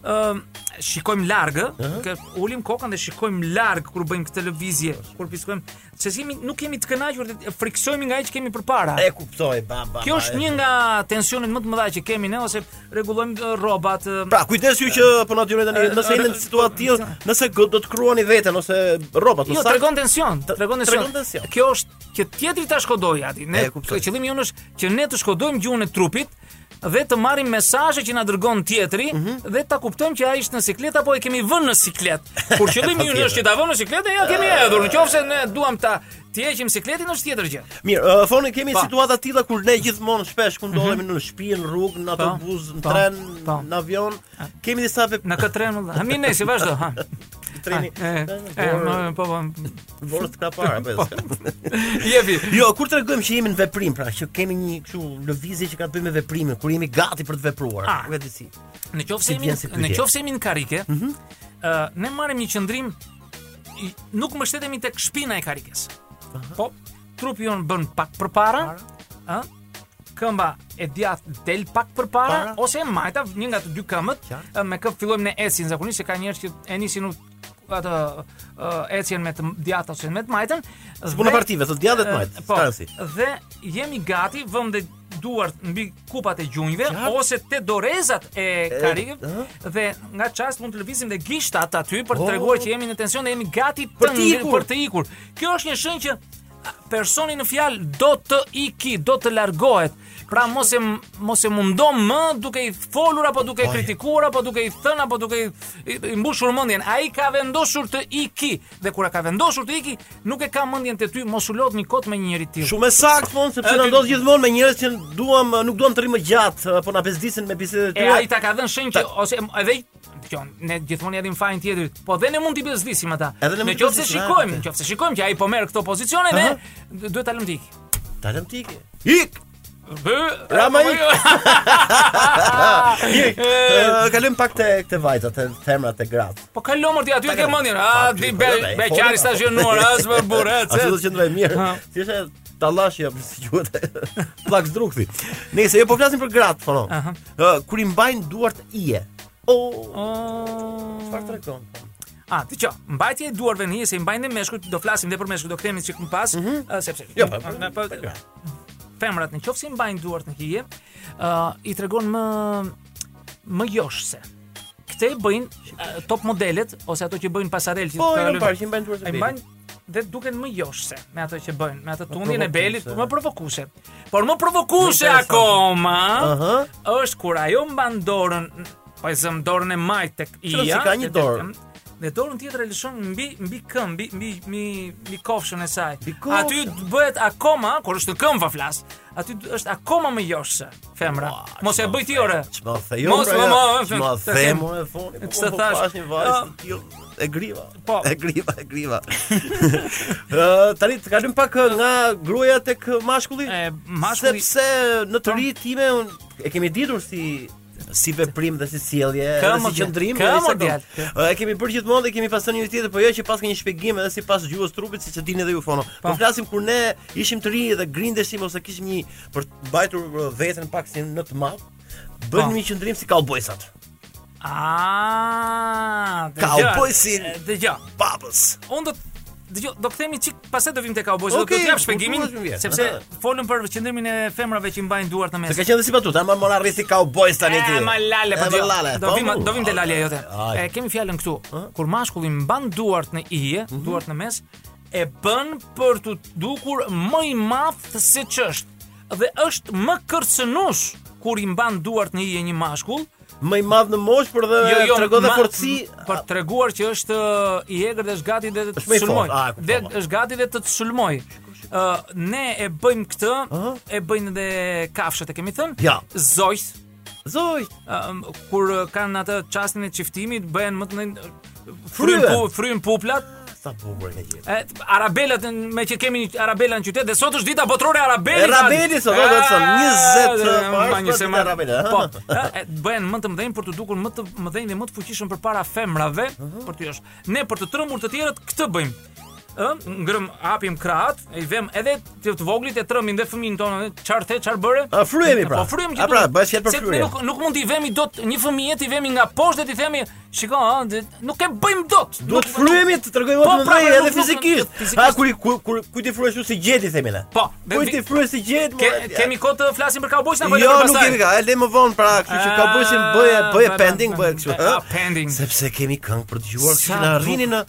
[SPEAKER 7] ë shikojmë larg, ë, ke- ulim kokën dhe shikojmë larg kur bëjmë këtë lëvizje, kur piskojmë, se jemi nuk kemi të kënaqur dhe të- friksojmë nga ai që kemi përpara.
[SPEAKER 6] E kuptoj, ba ba.
[SPEAKER 7] Kjo
[SPEAKER 6] ba,
[SPEAKER 7] është
[SPEAKER 6] e-
[SPEAKER 7] një nga tensionet më të mëdha që kemi ne ose rregullojmë ë, rrobat. ë,
[SPEAKER 6] Pra, kujdes ju që po na dyroni tani, nëse jeni në situatë të tillë, nëse go- do të kruani veten ose rrobat,
[SPEAKER 7] Jo,
[SPEAKER 6] ose
[SPEAKER 7] tregon tension, tregon tension.
[SPEAKER 6] tregon tension.
[SPEAKER 7] Kjo është që tjetri ta shkodoj aty. Ne
[SPEAKER 6] E, kuptoj.
[SPEAKER 7] qëllimi jonë është që ne të shkodojmë gjuhën e trupit dhe të marrim mesazhe që na dërgon tjetri
[SPEAKER 6] Mhm.
[SPEAKER 7] dhe ta kuptojmë që ai është në siklet apo e kemi vënë në siklet. Kur qëllimi ynë
[SPEAKER 6] Patjetër.
[SPEAKER 7] është që ta vëmë në siklet, ja kemi hedhur. Nëse ne duam ta të heqim sikletin është tjetër gjë.
[SPEAKER 6] Mirë, uh, foni kemi
[SPEAKER 7] Pa. Mhm.
[SPEAKER 6] situata të tilla kur ne gjithmonë shpesh ku ndodhemi në shtëpi, në rrugë, në autobus, në
[SPEAKER 7] pa,
[SPEAKER 6] tren,
[SPEAKER 7] pa.
[SPEAKER 6] në avion. Kemi disa vep
[SPEAKER 7] Në këtë tren, më dha. ha mi ne si vazhdo, ha.
[SPEAKER 6] treni.
[SPEAKER 7] Ha, e, e,
[SPEAKER 6] Vor-
[SPEAKER 7] më- po po.
[SPEAKER 6] Vorë të krapar apo s'ka?
[SPEAKER 7] Jepi.
[SPEAKER 6] Jo, kur tregojmë që jemi në veprim, pra që kemi një kështu lëvizje që ka të bëjë me veprimin, kur jemi gati për të vepruar.
[SPEAKER 7] Ah.
[SPEAKER 6] Nuk e di si.
[SPEAKER 7] Në qoftë
[SPEAKER 6] Si
[SPEAKER 7] se jemi
[SPEAKER 6] vjen si pyetje. Mhm.
[SPEAKER 7] në qoftë se jemi në karike, ëh, ne marrim një qëndrim i- nuk mbështetemi tek shpina e karikes. Po trupi jon bën pak përpara, ëh, këmba e djathtë del pak përpara
[SPEAKER 6] Para.
[SPEAKER 7] ose e majta një nga të dy këmbët,
[SPEAKER 6] Qartë.
[SPEAKER 7] ë, me kë fillojmë ne ecin zakonisht se ka njerëz që e nisin u- atë ë, ecjen me të djathtë ose me të majtën.
[SPEAKER 6] Punë
[SPEAKER 7] dhe-
[SPEAKER 6] partive, thotë djadhet majt.
[SPEAKER 7] Eh, Po,
[SPEAKER 6] Po. Transi.
[SPEAKER 7] dhe jemi gati, vëm dhe duart mbi kupat e gjunjve
[SPEAKER 6] Qartë.
[SPEAKER 7] ose te dorezat e karikëve
[SPEAKER 6] ëh.
[SPEAKER 7] dhe nga çast mund të lëvizim dhe gishtat aty për të
[SPEAKER 6] Oh.
[SPEAKER 7] treguar që jemi në tension dhe jemi gati të
[SPEAKER 6] Për të
[SPEAKER 7] ngri-
[SPEAKER 6] ikur.
[SPEAKER 7] për të ikur. Kjo është një shenjë që a, personi në fjalë do të iki, do të largohet. Pra mos e m- mos e mundo më duke i folur apo duke i kritikuar apo duke i thënë apo duke i, i, i mbushur mendjen. Ai ka vendosur të iki dhe kur e ka vendosur të iki, nuk e ka mendjen te ty, mos u lodh një kot me një njeri tjetër.
[SPEAKER 6] Shumë e saktë fon sepse
[SPEAKER 7] E,
[SPEAKER 6] na
[SPEAKER 7] ty-
[SPEAKER 6] ndodh gjithmonë me njerëz që duam nuk duam të rrimë gjatë, po na bezdisin me bisedat e
[SPEAKER 7] E
[SPEAKER 6] tyre.
[SPEAKER 7] ai ta ka dhënë shenjë që ose edhe kjo ne gjithmonë ja dim fajin tjetrit, po dhe ne mund t'i bezdisim ata.
[SPEAKER 6] Edhe ne mund
[SPEAKER 7] Në
[SPEAKER 6] t'i
[SPEAKER 7] qoftë se
[SPEAKER 6] bezdisim, ha,
[SPEAKER 7] shikojmë,
[SPEAKER 6] vërtet.
[SPEAKER 7] në qoftë se shikojmë që ai po merr këto pozicione ne
[SPEAKER 6] Aha.
[SPEAKER 7] du- duhet ta lëm tik.
[SPEAKER 6] Ta lëm tik. Ik.
[SPEAKER 7] Bë,
[SPEAKER 6] Rama
[SPEAKER 7] po,
[SPEAKER 6] ik.
[SPEAKER 7] jo.
[SPEAKER 6] Ik. Ë, Kalojm pak te te vajzat, te femrat, te gratë.
[SPEAKER 7] Po ka lomër ti aty e ke
[SPEAKER 6] ka-
[SPEAKER 7] mendjen.
[SPEAKER 6] Pa,
[SPEAKER 7] A
[SPEAKER 6] ty,
[SPEAKER 7] di
[SPEAKER 6] po,
[SPEAKER 7] be
[SPEAKER 6] jo, be,
[SPEAKER 7] beqari
[SPEAKER 6] po,
[SPEAKER 7] sa
[SPEAKER 6] po.
[SPEAKER 7] zhënuar as për burrë.
[SPEAKER 6] Ashtu do të qëndroj mirë.
[SPEAKER 7] Ha.
[SPEAKER 6] Si është e tallashi apo si quhet? Plak zdrukthi. Nëse jo po flasim për gratë, po.
[SPEAKER 7] Aha.
[SPEAKER 6] Ë, kur i mbajnë duart ije. O, çfarë
[SPEAKER 7] O,
[SPEAKER 6] tregon?
[SPEAKER 7] A, ti ço, mbajtje e duarve në hije se i mbajnë dhe meshkujt, do flasim dhe për meshkujt, do kthehemi çik më pas, ë, sepse.
[SPEAKER 6] Jo, po,
[SPEAKER 7] Në- po- femrat në qoftë se i mbajnë duart në hije, ë i tregon më më joshse. Këte e bëjnë ë, top modelet ose ato që bëjnë pasarelë që
[SPEAKER 6] Po,
[SPEAKER 7] të
[SPEAKER 6] i kam
[SPEAKER 7] kalojnë-
[SPEAKER 6] parë që i mbajnë duart e
[SPEAKER 7] Ai mbajnë
[SPEAKER 6] belit.
[SPEAKER 7] dhe duken më joshse me ato që bëjnë, me atë tundjen e belit,
[SPEAKER 6] provokuese.
[SPEAKER 7] më provokuese. Por më provokuese
[SPEAKER 6] Më interesante.
[SPEAKER 7] akoma
[SPEAKER 6] Aha.
[SPEAKER 7] është kur ajo mban dorën, po e zëm dorën e majt tek
[SPEAKER 6] Qëse
[SPEAKER 7] ija.
[SPEAKER 6] ka një
[SPEAKER 7] te- te-
[SPEAKER 6] dorë.
[SPEAKER 7] Dhe dorën tjetër e lëshon mbi mbi këmbë, mbi mbi mbi, mbi kofshën e saj.
[SPEAKER 6] Mbi kofshën.
[SPEAKER 7] Aty bëhet akoma, kur është në këmbë pa flas, aty d- është akoma më joshse femra.
[SPEAKER 6] Ua,
[SPEAKER 7] Mos e
[SPEAKER 6] ç'ma
[SPEAKER 7] bëj ti ore.
[SPEAKER 6] Ç'ma thejo.
[SPEAKER 7] Mos më mo, e,
[SPEAKER 6] ç'ma
[SPEAKER 7] të them.
[SPEAKER 6] themo e foni. po,
[SPEAKER 7] Ç'të
[SPEAKER 6] po,
[SPEAKER 7] thash?
[SPEAKER 6] pash një
[SPEAKER 7] Ah.
[SPEAKER 6] vajzë jo, e griva.
[SPEAKER 7] Po.
[SPEAKER 6] E griva, e griva. Ë, tani të kalojm pak ë, nga gruaja tek ë, mashkulli.
[SPEAKER 7] E, mashkulli-
[SPEAKER 6] sepse në të ri time un e kemi ditur si si veprim dhe si sjellje,
[SPEAKER 7] Ka
[SPEAKER 6] dhe
[SPEAKER 7] mo
[SPEAKER 6] si
[SPEAKER 7] djal-
[SPEAKER 6] qëndrim,
[SPEAKER 7] ka
[SPEAKER 6] dhe
[SPEAKER 7] mo
[SPEAKER 6] si
[SPEAKER 7] djal.
[SPEAKER 6] E kemi bërë gjithmonë dhe kemi pasur një tjetër, po jo që pas ka një shpjegim edhe sipas gjuhës trupit siç e dini edhe ju fono. Po flasim kur ne ishim të rinj dhe grindeshim ose kishim një për të mbajtur uh, veten pak si në të madh,
[SPEAKER 7] Po.
[SPEAKER 6] bënim një qëndrim si cowboysat.
[SPEAKER 7] Ah,
[SPEAKER 6] Cowboysin.
[SPEAKER 7] Dëgjoj.
[SPEAKER 6] Babës.
[SPEAKER 7] Unë do të- dëgjoj, do kthehemi çik pastaj do vim te Cowboys, do
[SPEAKER 6] Okej,
[SPEAKER 7] të jap
[SPEAKER 6] kur
[SPEAKER 7] shpjegimin
[SPEAKER 6] duhet më vjen.
[SPEAKER 7] sepse
[SPEAKER 6] Aha.
[SPEAKER 7] folëm për qendrimin e femrave që i mbajnë duart në mes.
[SPEAKER 6] Se ka qenë dhe si batuta, ama mora rreth si cowboys tani ti.
[SPEAKER 7] E, ma lale, po
[SPEAKER 6] E,
[SPEAKER 7] di.
[SPEAKER 6] ma lale.
[SPEAKER 7] Do
[SPEAKER 6] Po,
[SPEAKER 7] vim,
[SPEAKER 6] mu.
[SPEAKER 7] do vim te lalja jote.
[SPEAKER 6] Aj.
[SPEAKER 7] E kemi fjalën këtu. Kur mashkulli mban duart në ije,
[SPEAKER 6] Mhm.
[SPEAKER 7] duart në mes, e bën për të dukur më i madh se ç'është. Dhe është më kërcënues kur i mban duart në ije një mashkull, Jo,
[SPEAKER 6] Më i madh në moshë, por dhe tregon dhe
[SPEAKER 7] ma-
[SPEAKER 6] forci.
[SPEAKER 7] për të treguar që është ë, i egër dhe është gati dhe të
[SPEAKER 6] Është me i
[SPEAKER 7] sulmoj.
[SPEAKER 6] fortë, a, e kuptova.
[SPEAKER 7] Dhe është gati dhe të të sulmoj. Ë ne e bëjmë këtë, e bëjnë edhe kafshët, e kemi thënë.
[SPEAKER 6] Ja.
[SPEAKER 7] Zojt,
[SPEAKER 6] Zoj.
[SPEAKER 7] ë, kur kanë atë çastin e çiftimit, bëhen më të ndonjë
[SPEAKER 6] Fryhen.
[SPEAKER 7] fryn pu, fryn poplat.
[SPEAKER 6] Sa bukur në jetë.
[SPEAKER 7] E, t- arabelat në- me që kemi një arabela në qytet dhe sot është dita botërore e arabelit.
[SPEAKER 6] E rabeli sot, do të thonë, 20
[SPEAKER 7] E,
[SPEAKER 6] mars,
[SPEAKER 7] mba, një
[SPEAKER 6] është
[SPEAKER 7] sema-
[SPEAKER 6] dita e rabelit, ha?
[SPEAKER 7] Po, e, e, bëhen më të mëdhenj për të dukur më të mëdhenj dhe më të fuqishëm përpara femrave, për ty është. Ne për të trembur të tjerët këtë bëjmë. Ë, ngrëm hapim krahat, i vëm edhe të të voglit e trëmin dhe fëmin tonë, çfarë the, çfarë bëre?
[SPEAKER 6] A, fryhemi pra.
[SPEAKER 7] Po fryhemi që
[SPEAKER 6] A, pra,
[SPEAKER 7] duhet.
[SPEAKER 6] bëhet fjalë për
[SPEAKER 7] Se ne
[SPEAKER 6] fryrje.
[SPEAKER 7] Nuk, nuk mund t'i vemi dot një fëmijë, t'i vemi nga poshtë dhe t'i themi, "Shiko, ha, dhe- nuk e bëjmë dot."
[SPEAKER 6] Duhet
[SPEAKER 7] Nuk-
[SPEAKER 6] fryhemi të tregojmë
[SPEAKER 7] Po,
[SPEAKER 6] më
[SPEAKER 7] pra,
[SPEAKER 6] ndrej
[SPEAKER 7] pra,
[SPEAKER 6] edhe
[SPEAKER 7] nuk- nuk-
[SPEAKER 6] fizikisht.
[SPEAKER 7] fizikisht.
[SPEAKER 6] Ha kur i- kur kur ku ti fryesh ju si gjeti themi ne.
[SPEAKER 7] Po, dhe
[SPEAKER 6] ku
[SPEAKER 7] vi-
[SPEAKER 6] ti fryesh si gjet?
[SPEAKER 7] Ke,
[SPEAKER 6] more, ja.
[SPEAKER 7] kemi kohë të flasim për Cowboys apo
[SPEAKER 6] Jo, nuk kemi ka. E le më vonë pra, kështu që ka bëjë bëje bëje pending bëje kështu.
[SPEAKER 7] Ah,
[SPEAKER 6] ha?
[SPEAKER 7] pending.
[SPEAKER 6] Sepse kemi këngë për të dëgjuar, kështu
[SPEAKER 7] Sa
[SPEAKER 6] që na
[SPEAKER 7] bukur.
[SPEAKER 6] rrini në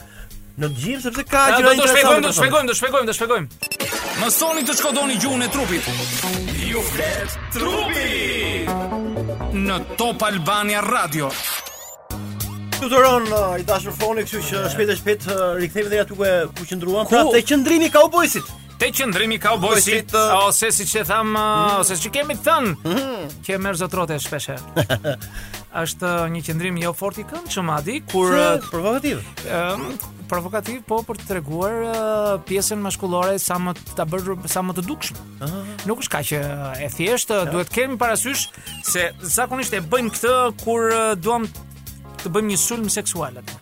[SPEAKER 6] në gjim sepse ka
[SPEAKER 7] Ah,
[SPEAKER 6] gjëra
[SPEAKER 7] Do të
[SPEAKER 6] interesante.
[SPEAKER 7] shpjegojmë, do
[SPEAKER 6] për
[SPEAKER 7] të
[SPEAKER 6] thonë.
[SPEAKER 7] shpjegojmë, do të shpjegojmë, do të shpjegojmë. Mësoni të shkodoni gjuhën e trupit.
[SPEAKER 3] Ju flet trupi
[SPEAKER 7] Në Top Albania Radio.
[SPEAKER 6] Tutoron uh, i dashur foni, kështu që shpejt e shpejt uh, rikthehemi deri aty ku e- ku qëndruam.
[SPEAKER 7] Ku?
[SPEAKER 6] Pra te qëndrimi Cowboysit.
[SPEAKER 7] Te qëndrimi Cowboysit
[SPEAKER 6] Cowboysit, uh,
[SPEAKER 7] ose siç e tham, uh, ose siç e kemi thënë,
[SPEAKER 6] Mhm.
[SPEAKER 7] që e merr zotrote shpesh herë. Është uh, një qëndrim jo fort i këndshëm Adi, kur uh,
[SPEAKER 6] Provokativ.
[SPEAKER 7] Ëm, Ehm, provokativ po për të treguar ë, pjesën maskullore sa më t- ta bërë sa më të dukshme. Nuk është kaq ë, e thjeshtë, ë, duhet kemi parasysh se zakonisht e bëjmë këtë kur ë, duam të bëjmë një sulm seksual atë.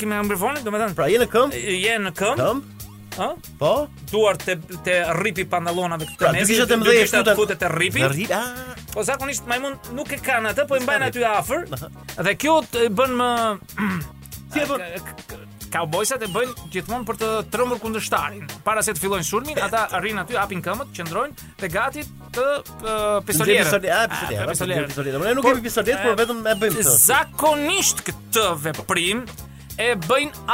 [SPEAKER 7] kemi në mikrofonin, domethënë.
[SPEAKER 6] Pra je në këmbë?
[SPEAKER 7] je në këmbë,
[SPEAKER 6] Këmbë?
[SPEAKER 7] ë?
[SPEAKER 6] Po.
[SPEAKER 7] duart te te rripi pantallonave këtu
[SPEAKER 6] Pra,
[SPEAKER 7] mesit,
[SPEAKER 6] dy kishat e
[SPEAKER 7] dy
[SPEAKER 6] mëdhenj
[SPEAKER 7] kishat
[SPEAKER 6] futen-
[SPEAKER 7] futet te rripi.
[SPEAKER 6] Në rip. Ah,
[SPEAKER 7] Po zakonisht majmun nuk e kanë atë, po e mbajnë aty afër.
[SPEAKER 6] Aha.
[SPEAKER 7] Dhe kjo të bën më
[SPEAKER 6] si e bën?
[SPEAKER 7] Cowboysat e bëjnë gjithmonë për të trembur kundërshtarin. Para se të fillojnë sulmin, ata arrin aty, hapin këmbët, qëndrojnë dhe gati të uh,
[SPEAKER 6] Nxjerr
[SPEAKER 7] pistolierët.
[SPEAKER 6] pistolet, ah,
[SPEAKER 7] Ah,
[SPEAKER 6] pistolet, pistolet,
[SPEAKER 7] të pistolerët.
[SPEAKER 6] pistolet. Ne nuk
[SPEAKER 7] Por-
[SPEAKER 6] kemi pistolet, por
[SPEAKER 7] e,
[SPEAKER 6] vetëm e bëjmë këtë.
[SPEAKER 7] Zakonisht këtë veprim e bëjnë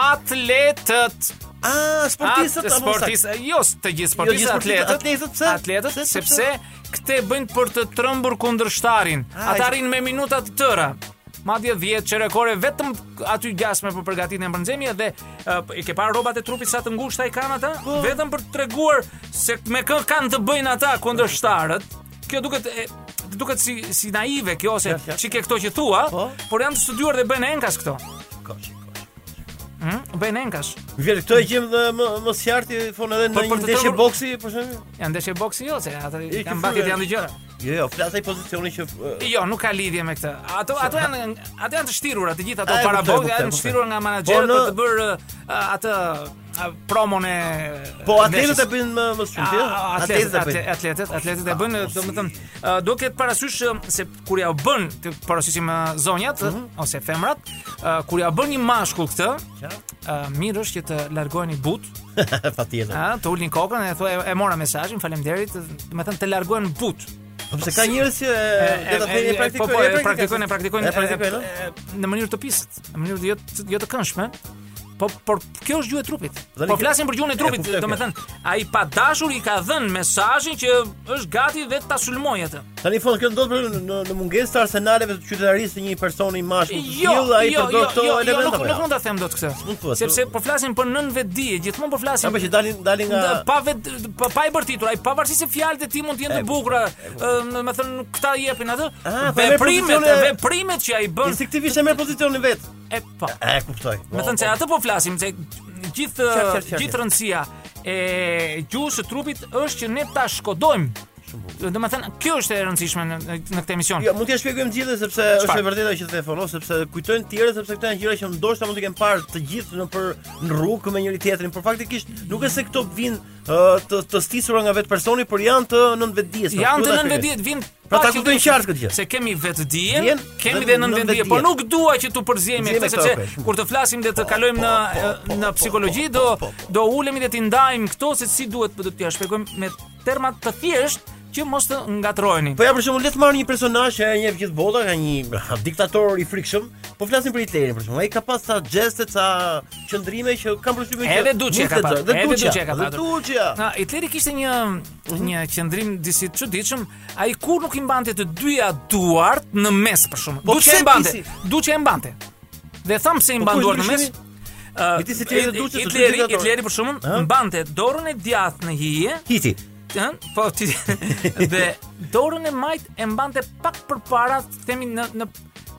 [SPEAKER 7] atletët.
[SPEAKER 6] Ah, sportistët
[SPEAKER 7] At-
[SPEAKER 6] apo sportistët?
[SPEAKER 7] sportistët, jo s- të gjithë sportistët,
[SPEAKER 6] gjithë sportistët,
[SPEAKER 7] atletët,
[SPEAKER 6] atletët, pse?
[SPEAKER 7] Atletët,
[SPEAKER 6] Pse, pse,
[SPEAKER 7] sepse këte bëjnë për të trëmbur kundërshtarin.
[SPEAKER 6] Ah,
[SPEAKER 7] Ata
[SPEAKER 6] e-
[SPEAKER 7] rrinë me minuta të tëra. Madje 10 çerekore vetëm aty gjasme për përgatitjen e mbrëmjes dhe uh, i ke parë rrobat e trupit sa të ngushta i kanë ata,
[SPEAKER 6] Po.
[SPEAKER 7] vetëm për të treguar se me kë kanë të bëjnë ata kundërshtarët. Kjo duket e, duket si si naive kjo ose
[SPEAKER 6] Ja, ja.
[SPEAKER 7] çike këto që thua,
[SPEAKER 6] Po.
[SPEAKER 7] por janë të studiuar dhe bëjnë enkas këto.
[SPEAKER 6] Kosh, kosh.
[SPEAKER 7] Hm? Bëjnë enkas.
[SPEAKER 6] Vjen këtë e gjem dhe më më sqarti fon edhe në
[SPEAKER 7] Po, për
[SPEAKER 6] një
[SPEAKER 7] të
[SPEAKER 6] ndeshje
[SPEAKER 7] tërmur-
[SPEAKER 6] boksi për shembull.
[SPEAKER 7] Janë ndeshje boksi jo, se ata
[SPEAKER 6] E,
[SPEAKER 7] kanë
[SPEAKER 6] ke
[SPEAKER 7] mbatjet
[SPEAKER 6] fryre.
[SPEAKER 7] janë gjëra.
[SPEAKER 6] Jo, jo, flas ai pozicioni që e,
[SPEAKER 7] Jo, nuk ka lidhje me këtë. Ato ato janë ato janë të shtirura, të gjitha ato
[SPEAKER 6] A, e
[SPEAKER 7] para
[SPEAKER 6] kuptoj,
[SPEAKER 7] boksit
[SPEAKER 6] kuptoj,
[SPEAKER 7] janë të
[SPEAKER 6] kuptoj.
[SPEAKER 7] shtirura nga menaxherët
[SPEAKER 6] Po,
[SPEAKER 7] për
[SPEAKER 6] në-
[SPEAKER 7] të bërë uh, atë uh, promon e
[SPEAKER 6] Po atletët e
[SPEAKER 7] ndeshjes.
[SPEAKER 6] bëjnë më më shumë jo? ti.
[SPEAKER 7] A- a- Atletët
[SPEAKER 6] Atletët e
[SPEAKER 7] atle-
[SPEAKER 6] bëjnë.
[SPEAKER 7] atletët, atletët e bëjnë, domethënë, ë, do ketë parasysh ë, se kur ja u bën, të parasyshim ë, zonjat ë,
[SPEAKER 6] Mhm.
[SPEAKER 7] ose femrat, ë, kur ja bën një mashkull këtë, ë, mirë është që të largoheni but,
[SPEAKER 6] Patjetër.
[SPEAKER 7] ë, të ulni kokën e thua e mora mesazhin, faleminderit, ë, domethënë të largohen but.
[SPEAKER 6] Po pse ka njerëz që e, le ta thënë e
[SPEAKER 7] Po, po, e
[SPEAKER 6] praktikojnë,
[SPEAKER 7] praktikojnë, e praktikojnë,
[SPEAKER 6] E praktikojnë.
[SPEAKER 7] e-
[SPEAKER 6] no?
[SPEAKER 7] e- në mënyrë të pisët, në mënyrë jo të- jo të këndshme. Po por kjo është gjuhë e trupit.
[SPEAKER 6] Tani
[SPEAKER 7] Po
[SPEAKER 6] kjo-
[SPEAKER 7] flasim për gjuhën e
[SPEAKER 6] E,
[SPEAKER 7] trupit,
[SPEAKER 6] kuptoj,
[SPEAKER 7] domethënë ai pa dashur i ka dhënë mesazhin që është gati dhe ta sulmoj atë.
[SPEAKER 6] Tani fon kjo ndodh për- në në mungesë të arsenaleve të qytetarisë të një personi i mashkull. të
[SPEAKER 7] Jo,
[SPEAKER 6] tillë, ai
[SPEAKER 7] jo, jo,
[SPEAKER 6] përdor këto
[SPEAKER 7] jo, jo, nuk
[SPEAKER 6] elemente.
[SPEAKER 7] nuk mund ta them dot këtë.
[SPEAKER 6] S'mund thua,
[SPEAKER 7] Sepse
[SPEAKER 6] s'mund.
[SPEAKER 7] po flasim për nën vetdije, gjithmonë po flasim
[SPEAKER 6] Apo jo. që dalin dalin nga
[SPEAKER 7] Nda- pa vet pa, pa e bërtitur, ai pavarësisht se fjalët e tij mund të jenë të bukura, ë, do të thënë këta i jepin atë
[SPEAKER 6] Ah, po e merr
[SPEAKER 7] veprimet,
[SPEAKER 6] pozicione-
[SPEAKER 7] veprimet që ai bën.
[SPEAKER 6] instinktivisht e merr pozicionin vet.
[SPEAKER 7] E po.
[SPEAKER 6] E kuptoj.
[SPEAKER 7] Me thënë se atë po flasim se gjithë
[SPEAKER 6] Qartë, qartë, qartë.
[SPEAKER 7] gjithë rëndësia e gjuhës së trupit është që ne ta shkodojmë. Do të thënë kjo është e rëndësishme në, në këtë emision.
[SPEAKER 6] Jo, mund t'ja shpjegojmë gjithë sepse është e vërtetë ajo që the Fono, sepse kujtojnë të tjerë sepse këto janë gjëra që ndoshta mund të kemi parë të gjithë në për në rrugë me njëri tjetrin, por faktikisht nuk është se këto vinë ë, të të stisura nga vetë personi, por janë të nënvetdijes. pra,
[SPEAKER 7] Janë
[SPEAKER 6] kjo
[SPEAKER 7] të
[SPEAKER 6] ta
[SPEAKER 7] nën
[SPEAKER 6] shpjegoj.
[SPEAKER 7] vetdijet vinë
[SPEAKER 6] Pra, ta
[SPEAKER 7] qëllim-
[SPEAKER 6] kuptojnë qartë këtë gjë.
[SPEAKER 7] Se kemi vetdijen,
[SPEAKER 6] Dijen dhe
[SPEAKER 7] kemi dhe nën vetdijen,
[SPEAKER 6] nënvetdijen.
[SPEAKER 7] por nuk dua që tu përzihemi
[SPEAKER 6] Përzihemi
[SPEAKER 7] këtë
[SPEAKER 6] këto, okay,
[SPEAKER 7] sepse
[SPEAKER 6] shumë.
[SPEAKER 7] kur të flasim dhe të kalojmë
[SPEAKER 6] po,
[SPEAKER 7] në
[SPEAKER 6] po, po,
[SPEAKER 7] në
[SPEAKER 6] po,
[SPEAKER 7] psikologji
[SPEAKER 6] po, po,
[SPEAKER 7] do
[SPEAKER 6] po.
[SPEAKER 7] do ulemi dhe t'i ndajmë këto se si duhet do t'ja shpjegojmë me terma të thjeshtë që mos të ngatroheni.
[SPEAKER 6] Po ja për shembull le të marr një personazh që e njeh gjithë bota, ka një ha, diktator i frikshëm, po flasim për Hitlerin për shembull. Ai ka pas sa geste, sa qëndrime që kanë përshtypjen që
[SPEAKER 7] Edhe Duce
[SPEAKER 6] nuk
[SPEAKER 7] ka
[SPEAKER 6] të
[SPEAKER 7] pasur,
[SPEAKER 6] do- Dhe
[SPEAKER 7] edhe
[SPEAKER 6] Duce
[SPEAKER 7] Duce ka
[SPEAKER 6] Dhe
[SPEAKER 7] pasur.
[SPEAKER 6] Duce.
[SPEAKER 7] Na, Hitleri kishte një një qendrim disi të çuditshëm, ai kur nuk i mbante të dyja duart në mes për shkakun.
[SPEAKER 6] Po
[SPEAKER 7] Duçi
[SPEAKER 6] pse
[SPEAKER 7] e mbante,
[SPEAKER 6] pisi?
[SPEAKER 7] duçi e mbante. Dhe tham pse i mban
[SPEAKER 6] ku është
[SPEAKER 7] duart në mes.
[SPEAKER 6] ndryshimi?
[SPEAKER 7] Ë,
[SPEAKER 6] Miti si ti edhe
[SPEAKER 7] Hit-
[SPEAKER 6] Duçi, se dy
[SPEAKER 7] Hitleri,
[SPEAKER 6] diktatorë.
[SPEAKER 7] Hitleri për shkakun
[SPEAKER 6] Ëh?
[SPEAKER 7] mbante dorën e djathtë në hije,
[SPEAKER 6] Hiti.
[SPEAKER 7] ëh, po ti dhe dorën e majt e mbante pak përpara, themi në në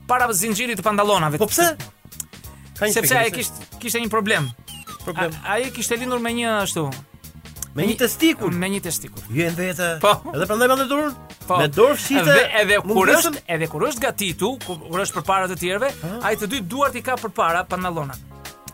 [SPEAKER 7] para zinxhirit të pantallonave.
[SPEAKER 6] Po pse? Ka një
[SPEAKER 7] Sepse
[SPEAKER 6] shpjegim,
[SPEAKER 7] ai kishte kishte një problem.
[SPEAKER 6] problem
[SPEAKER 7] A- Ai kishte lindur me një ashtu,
[SPEAKER 6] me një testikul.
[SPEAKER 7] me një testikul.
[SPEAKER 6] Vjen vete.
[SPEAKER 7] Mm. Po.
[SPEAKER 6] Edhe prandaj me dorën?
[SPEAKER 7] Po.
[SPEAKER 6] Me dorë fshite.
[SPEAKER 7] Edhe edhe kur
[SPEAKER 6] mungesën-
[SPEAKER 7] është, edhe kur është gatitu, kur është përpara të tjerëve, ai të dy duart i ka përpara pantallona.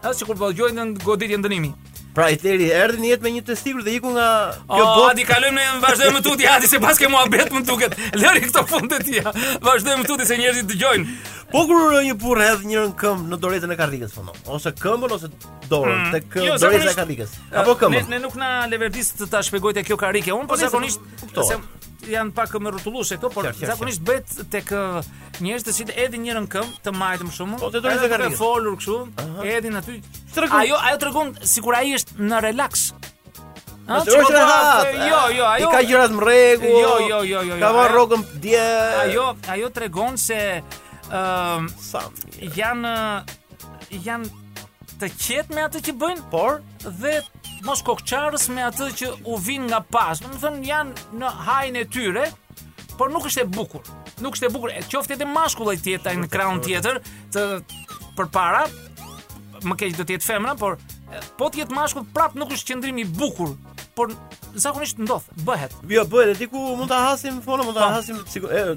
[SPEAKER 7] Ëh sikur po dëgjojnë në goditje ndënimi.
[SPEAKER 6] Pra Hitleri erdhi në jetë me një testikur dhe iku nga
[SPEAKER 7] O,
[SPEAKER 6] kjo botë.
[SPEAKER 7] Adi, kalojmë ne vazhdojmë më tutje, Adi, se pas ke muhabet më duket. Lëri këto funde tia. Vazhdojmë tutje se njerëzit dëgjojnë.
[SPEAKER 6] Po kur një burr hedh njërin këmbë në doretën e karrikës fondon, ose këmbën ose dorën tek
[SPEAKER 7] Jo,
[SPEAKER 6] doreta e
[SPEAKER 7] zakonisht-
[SPEAKER 6] karrikës,
[SPEAKER 7] Eh,
[SPEAKER 6] apo
[SPEAKER 7] Ne,
[SPEAKER 6] këmbën.
[SPEAKER 7] ne nuk na leverdis të ta shpjegoj te kjo karike. Un po
[SPEAKER 6] Po, ne
[SPEAKER 7] zakonisht
[SPEAKER 6] kuptohet.
[SPEAKER 7] se janë pak më rrotulluese këto, por
[SPEAKER 6] Qartë, qartë,
[SPEAKER 7] zakonisht bëhet tek ë, njerëz të cilët edhin njërën këmbë të majtëm shumë.
[SPEAKER 6] Po, te dorë
[SPEAKER 7] edhe
[SPEAKER 6] të karrikës.
[SPEAKER 7] duke folur kështu, edhin aty.
[SPEAKER 6] Tregon.
[SPEAKER 7] Ajo ajo tregon sikur ai është në relax. Ha,
[SPEAKER 6] Atë është
[SPEAKER 7] çiko,
[SPEAKER 6] rehat.
[SPEAKER 7] pa- Jo, jo, ajo.
[SPEAKER 6] I ka gjërat në rregull.
[SPEAKER 7] Jo, jo, jo, jo,
[SPEAKER 6] Ka
[SPEAKER 7] jo,
[SPEAKER 6] marrë
[SPEAKER 7] ajo-
[SPEAKER 6] rrogën dje.
[SPEAKER 7] Ajo ajo tregon se ëm
[SPEAKER 6] sa. mirë.
[SPEAKER 7] janë janë të qetë me atë që bëjnë,
[SPEAKER 6] Por
[SPEAKER 7] dhe mos kokçarës me atë që u vin nga pas. Do të thënë janë në hajin e tyre, por nuk është e bukur. Nuk është e bukur. E qoftë edhe mashkulli tjetër në krahun tjetër të përpara, më keq do të jetë femra, por e, po të jetë mashkull prap nuk është qëndrim i bukur, por zakonisht ndodh, bëhet.
[SPEAKER 6] jo bëhet e diku mund ta hasim fono, mund ta
[SPEAKER 7] Po.
[SPEAKER 6] hasim sigur. e, e,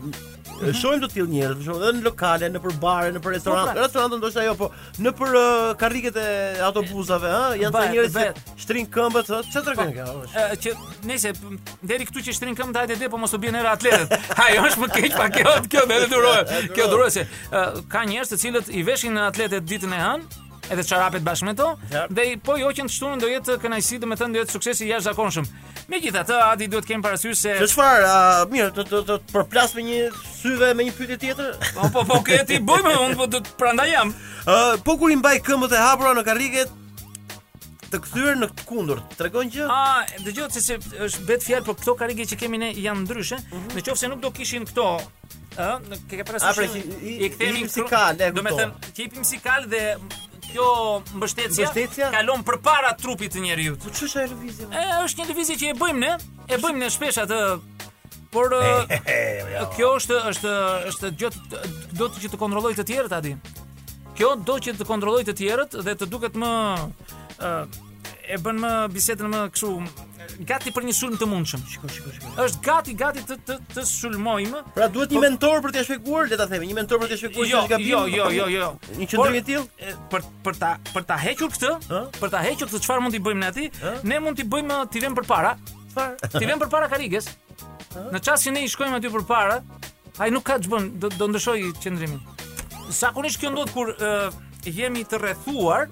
[SPEAKER 6] Shohim të tillë njerëz, për shembull, edhe në lokale, nëpër bare, nëpër restorante.
[SPEAKER 7] pra.
[SPEAKER 6] Restorante ndoshta jo, po nëpër ë, karriket e autobusave, ë, janë ca
[SPEAKER 7] Bëhet,
[SPEAKER 6] njerëz
[SPEAKER 7] bëhet. Po.
[SPEAKER 6] që shtrin këmbët, ë, çfarë tregon kjo?
[SPEAKER 7] E, që nëse p- deri këtu që shtrin këmbë hajde dhe po mos u bien era atletët. Ajo është më keq pa kjo, kjo deri durohet. Kjo durohet se e, ka njerëz të cilët i veshin atletët ditën e hënë edhe çarapet bashkë me to,
[SPEAKER 6] Yep.
[SPEAKER 7] dhe i- po jo që në të shtunën do jetë kënaqësi, do të thënë do jetë suksesi i jashtëzakonshëm. Megjithatë, Adi duhet kemi parasysh se
[SPEAKER 6] Që çfarë, a, mirë, të të të përplas me një syve me një pyetje tjetër?
[SPEAKER 7] po po po këtë ti bëjmë unë po do të prandaj jam.
[SPEAKER 6] Ë, po kur i mbaj këmbët e hapura në karrige të kthyer në të kundër, tregon që
[SPEAKER 7] A, dëgjoj se, se është bet fjalë për këto karige që kemi ne janë ndryshe. Në qoftë se nuk do kishin këto, ë, në- ke
[SPEAKER 6] Mhm.
[SPEAKER 7] ke
[SPEAKER 6] A, pra,
[SPEAKER 7] parasysh.
[SPEAKER 6] që i- i-
[SPEAKER 7] I kthemi
[SPEAKER 6] i hipim
[SPEAKER 7] kru-
[SPEAKER 6] si kal, e
[SPEAKER 7] Do me
[SPEAKER 6] kuptoj.
[SPEAKER 7] thënë, që hipim si kal dhe kjo mbështetja,
[SPEAKER 6] Mbështetja?
[SPEAKER 7] kalon përpara trupit të njeriu.
[SPEAKER 6] Po ç'është ajo lëvizje?
[SPEAKER 7] E, është një lëvizje që e bëjmë ne, e bëjmë ne shpesh atë Por ë, kjo është është është gjë të- do të që të kontrolloj të tjerët aty. Kjo do që të kontrolloj të tjerët dhe të duket më ë, e bën më bisedën më kështu gati për një sulm të mundshëm. Shikoj, shikoj, shikoj. Është gati gati të të, të sulmojmë.
[SPEAKER 6] Pra duhet një mentor për t'ia shpjeguar, le ta themi, një mentor për t'ia shpjeguar
[SPEAKER 7] Po- Jo,
[SPEAKER 6] që është gabim.
[SPEAKER 7] jo, jo, jo, jo.
[SPEAKER 6] Një qendrim i
[SPEAKER 7] Por,
[SPEAKER 6] tillë?
[SPEAKER 7] e, Për për ta për ta hequr këtë,
[SPEAKER 6] Ë?
[SPEAKER 7] për ta hequr këtë çfarë mund t'i bëjmë ne aty?
[SPEAKER 6] Ë?
[SPEAKER 7] Ne mund t'i bëjmë t'i vëmë përpara.
[SPEAKER 6] Çfarë?
[SPEAKER 7] Ti vjen përpara Kariges. Në çast që ne i shkojmë aty përpara, ai nuk ka ç'bën, do, do ndryshoj qendrimin. Zakonisht kjo ndodh kur ë, jemi të rrethuar,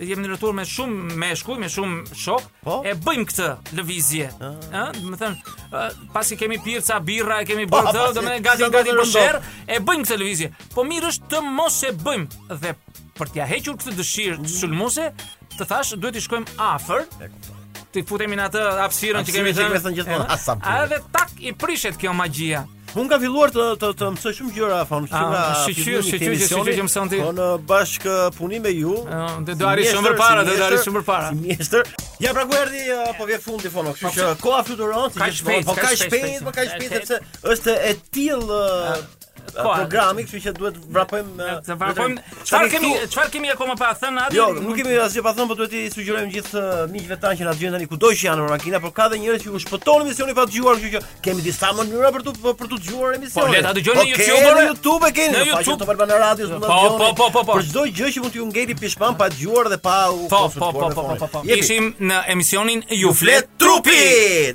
[SPEAKER 7] jemi të rrethuar me shumë meshkuj, me shumë shok,
[SPEAKER 6] Po?
[SPEAKER 7] e bëjmë këtë lëvizje. Ë, do të thënë, ë, pasi kemi pirë ca birra, e kemi bërë të,
[SPEAKER 6] pasi-
[SPEAKER 7] do të
[SPEAKER 6] sa
[SPEAKER 7] thënë gati
[SPEAKER 6] po, do të
[SPEAKER 7] gati për
[SPEAKER 6] rëndot.
[SPEAKER 7] sherr, e bëjmë këtë lëvizje. Po mirë është të mos e bëjmë dhe për t'ja hequr këtë
[SPEAKER 6] Mhm.
[SPEAKER 7] dëshirë sulmuese, të thash duhet i shkojmë afër, ti futemi në atë hapësirën që kemi
[SPEAKER 6] Hapësirën që kemi thënë gjithmonë, a, sa bukur.
[SPEAKER 7] A edhe tak i prishet kjo magjia.
[SPEAKER 6] Unë ka filluar të të, të mësoj shumë gjëra fon, shumë nga
[SPEAKER 7] Ah,
[SPEAKER 6] fillimi i
[SPEAKER 7] shqyqyr,
[SPEAKER 6] këtij
[SPEAKER 7] shqyqyr që-
[SPEAKER 6] emisioni.
[SPEAKER 7] shqyqyr që mëson ti.
[SPEAKER 6] Po në bashkë punim me ju.
[SPEAKER 7] Ah, do- do
[SPEAKER 6] si
[SPEAKER 7] arri shumë
[SPEAKER 6] mjeshtër,
[SPEAKER 7] përpara,
[SPEAKER 6] si
[SPEAKER 7] do- do
[SPEAKER 6] mjeshtër,
[SPEAKER 7] arri shumë përpara.
[SPEAKER 6] Si mjeshtër. Ja pra ku erdhi uh, po vjen fundi fono, kështu që koha fluturon, si
[SPEAKER 7] Ka
[SPEAKER 6] gjithmonë,
[SPEAKER 7] shpejt,
[SPEAKER 6] po
[SPEAKER 7] ka
[SPEAKER 6] ka
[SPEAKER 7] shpejt,
[SPEAKER 6] shpejt, po ka
[SPEAKER 7] ka
[SPEAKER 6] shpejt
[SPEAKER 7] shpejt. Ah,
[SPEAKER 6] sepse është e tillë uh,
[SPEAKER 7] koha.
[SPEAKER 6] programi, kështu që duhet vrapojmë uh,
[SPEAKER 7] Të
[SPEAKER 6] vetëm-
[SPEAKER 7] varfojmë.
[SPEAKER 6] Tani
[SPEAKER 7] Çfarë kemi,
[SPEAKER 6] këtu-
[SPEAKER 7] çfarë kemi akoma pa thënë atë?
[SPEAKER 6] Jo, nuk kemi asgjë pa thënë, por duhet i sugjerojmë gjithë uh, miqve tanë që na dëgjojnë tani kudo që janë në makina, por ka dhe njerëz që u shpëton emisionin pa dëgjuar, kështu që kemi disa mënyra për tu për tu dëgjuar emisionin.
[SPEAKER 7] Po, le ta dëgjojnë në
[SPEAKER 6] Po, keni
[SPEAKER 7] YouTube, ore.
[SPEAKER 6] Në YouTube e keni,
[SPEAKER 7] Në
[SPEAKER 6] në faqen
[SPEAKER 7] YouTube.
[SPEAKER 6] Top Albana Radios mund ta
[SPEAKER 7] Po,
[SPEAKER 6] dëgjoni.
[SPEAKER 7] po, po, po, po.
[SPEAKER 6] Për çdo gjë që mund t'ju ngeli pishman pa dëgjuar dhe pa u
[SPEAKER 7] Po,
[SPEAKER 6] konsultuar
[SPEAKER 7] po, po,
[SPEAKER 6] me
[SPEAKER 7] po, po,
[SPEAKER 6] fonin.
[SPEAKER 7] po, po.
[SPEAKER 6] Jepi.
[SPEAKER 7] Ishim në emisionin Ju
[SPEAKER 6] flet
[SPEAKER 7] flet trupi.
[SPEAKER 6] trupit.